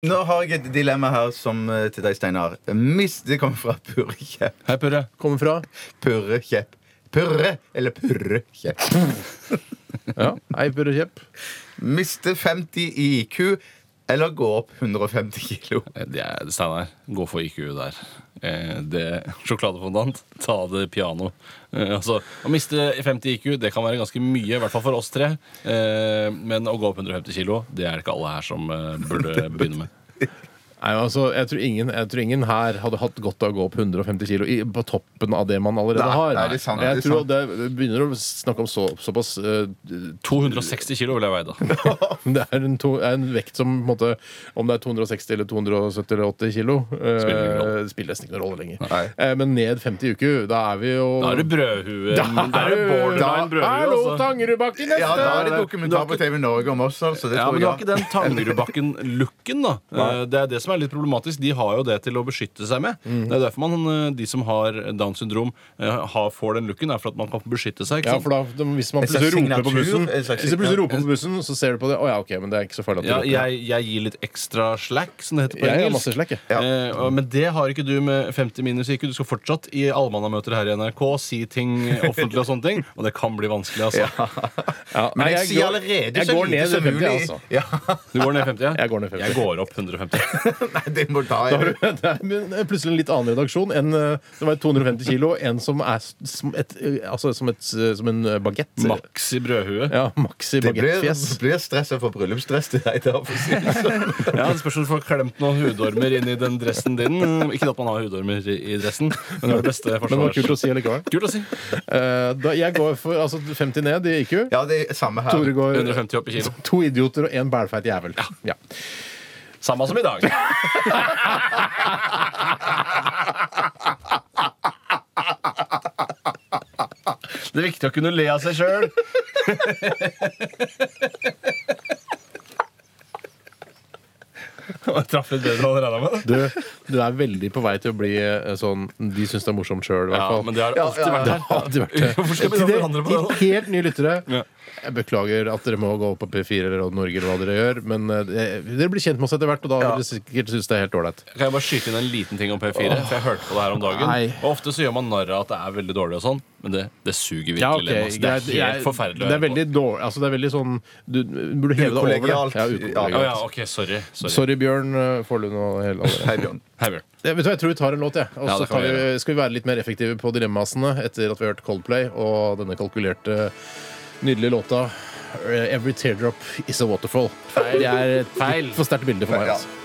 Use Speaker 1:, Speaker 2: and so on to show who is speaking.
Speaker 1: Nå har jeg et dilemma her som eh, til deg, Steinar. Mis, det kommer fra Purre Kjepp.
Speaker 2: Hei, Purre.
Speaker 3: Kommer fra
Speaker 1: Purre Kjepp. Purre eller Purre Kjepp.
Speaker 2: Ja.
Speaker 3: Eipur og Kjepp.
Speaker 1: Miste 50 i IQ eller gå opp 150 kilo.
Speaker 2: Det er Steinar. Gå for IQ der. Eh, Det Sjokoladefondant, ta det piano. Eh, Altså, å miste 50 IQ det kan være ganske mye, i hvert fall for oss tre. Eh, Men å gå opp 150 kilo, det er det ikke alle her som eh, burde begynne med.
Speaker 3: Nei, men altså, jeg tror, ingen, jeg tror ingen her hadde hatt godt av å gå opp 150 kilo i, på toppen av det man allerede
Speaker 1: Nei,
Speaker 3: har.
Speaker 1: nei, det er sant,
Speaker 3: jeg
Speaker 1: det er
Speaker 3: tror det begynner å snakke om så, såpass eh,
Speaker 2: 260 kilo vil jeg veie, da.
Speaker 3: Det er en, to, er en vekt som på en måte, Om det er 260 eller 270 eller 80 kilo, eh,
Speaker 2: Spiller ingen rolle.
Speaker 3: spiller nesten ikke noen rolle lenger.
Speaker 1: Nei.
Speaker 3: Eh, men ned 50 i uke, da er vi jo
Speaker 2: Da er det brødhue.
Speaker 3: Da
Speaker 2: Da er det borderline
Speaker 3: da- Hallo,
Speaker 2: brødhue. altså.
Speaker 3: Tangerudbakken neste!
Speaker 1: Ja, da er
Speaker 3: Eh,
Speaker 1: det dokumentar på TV Norge om oss, altså. Det
Speaker 2: Ja,
Speaker 1: tror
Speaker 2: men du har
Speaker 1: jeg.
Speaker 2: ikke den Tangerudbakken-looken, da. Eh, Det er det som er litt problematisk. De har jo det til å beskytte seg med.
Speaker 3: Mm.
Speaker 2: Det er derfor man, eh, de som har Downs syndrom, eh, har, får den looken. er for at man kan beskytte seg. Ikke
Speaker 3: Ja,
Speaker 2: sant?
Speaker 3: for da, da, hvis man
Speaker 1: En slags
Speaker 3: plutselig roper
Speaker 1: signatur,
Speaker 3: på bussen,
Speaker 1: en slags
Speaker 3: hvis du plutselig roper på bussen, så ser du på det. Å ja, ok, men det er ikke så farlig at du
Speaker 2: Ja,
Speaker 3: roper.
Speaker 2: jeg, jeg gir litt ekstra slack, som det heter på
Speaker 3: Jeg har
Speaker 2: engelsk.
Speaker 3: masse slack, jeg.
Speaker 1: Ja.
Speaker 2: Eh, og- men det har ikke du med 50 minus IQ. Du skal fortsatt i allmannamøter her i NRK si ting offentlig og sånne ting. Og det kan bli vanskelig, altså.
Speaker 3: Ja,
Speaker 1: Men
Speaker 3: nei,
Speaker 1: jeg, sier
Speaker 3: går-
Speaker 1: allerede
Speaker 3: jeg
Speaker 1: så
Speaker 3: går
Speaker 1: lite
Speaker 3: ned
Speaker 1: som
Speaker 3: til 50,
Speaker 1: mulig.
Speaker 3: altså.
Speaker 1: Ja,
Speaker 2: Du går ned 50?
Speaker 3: Jeg går ned 50.
Speaker 2: Jeg går opp 150.
Speaker 1: nei, det må da
Speaker 3: Da har du- det er men det er plutselig en litt annen redaksjon. En eh, som veier 250 kilo, en som er s- som, et, eh, altså, som, et, eh, som en bagett.
Speaker 2: Maks i brødhuet.
Speaker 3: Ja, maxi
Speaker 1: Det blir,
Speaker 3: bagettfjes.
Speaker 1: blir stress av å få bryllupsdress til deg. Da, for å si det sånn.
Speaker 2: Ja, Det spørs om du får klemt noen hudormer inn i den dressen din. Ikke at man har hudormer i i dressen, men det er det beste
Speaker 3: Men det var kult
Speaker 2: forsvars...
Speaker 3: å si allikevel.
Speaker 2: Kult å si.
Speaker 3: Eh, da, jeg går for altså, 50 ned i IQ.
Speaker 1: Ja, det er samme her.
Speaker 3: Tore går
Speaker 2: 150 opp i kilo.
Speaker 3: to idioter og én bælfeit jævel. Ja.
Speaker 2: Samme som i dag. Det er viktig å kunne le av seg sjøl. Traff litt bedre enn jeg regna med.
Speaker 3: Du, du er veldig på vei til å bli eh, sånn De syns det er morsomt sjøl, i
Speaker 2: Ja,
Speaker 3: hvert fall.
Speaker 2: men det har alltid
Speaker 1: ja,
Speaker 2: vært
Speaker 3: Det
Speaker 2: her.
Speaker 3: har alltid vært det.
Speaker 2: Hvorfor skal vi
Speaker 3: Til
Speaker 2: da forandre på det
Speaker 3: til
Speaker 2: da?
Speaker 3: Helt nye lyttere.
Speaker 2: Ja.
Speaker 3: Jeg beklager at dere må gå opp på P4 eller Radio Norge eller hva dere gjør, men eh, det- dere blir kjent med oss etter hvert, og da
Speaker 1: Ja.
Speaker 3: vil dere sikkert synes det er helt ålreit.
Speaker 2: Kan jeg bare skyte inn en liten ting om P4? For jeg hørte på det her om dagen.
Speaker 3: Nei.
Speaker 2: Og ofte så gjør man narr av at det er veldig dårlig og sånn, men det, det suger virkelig.
Speaker 3: ok,
Speaker 2: lem, altså. Det
Speaker 3: greit.
Speaker 2: er helt
Speaker 3: Jeg-
Speaker 2: forferdelig.
Speaker 3: Det er
Speaker 2: å høre
Speaker 3: veldig dårlig altså, Det er veldig sånn Du burde heve deg over det.
Speaker 1: Ukollegialt.
Speaker 3: Ja,
Speaker 2: på. Å
Speaker 3: ukollegialt.
Speaker 2: ja, ok, sorry. sorry.
Speaker 3: Sorry, Bjørn eh, Forlund og hele alle.
Speaker 1: Hei, Bjørn.
Speaker 2: Hei, Bjørn.
Speaker 3: Jeg, vet du, hva, jeg tror vi tar en låt, jeg. Og
Speaker 2: Ja,
Speaker 3: så
Speaker 2: det kan
Speaker 3: tar
Speaker 2: vi
Speaker 3: vi- skal vi være litt mer effektive på dilemmasene etter at vi har hørt Coldplay og denne kalkulerte, nydelige låta eh, Every Teardrop Is A Waterfall. Det er et
Speaker 2: Feil.
Speaker 3: litt for sterkt bilde for meg.
Speaker 1: Ja.
Speaker 3: Altså.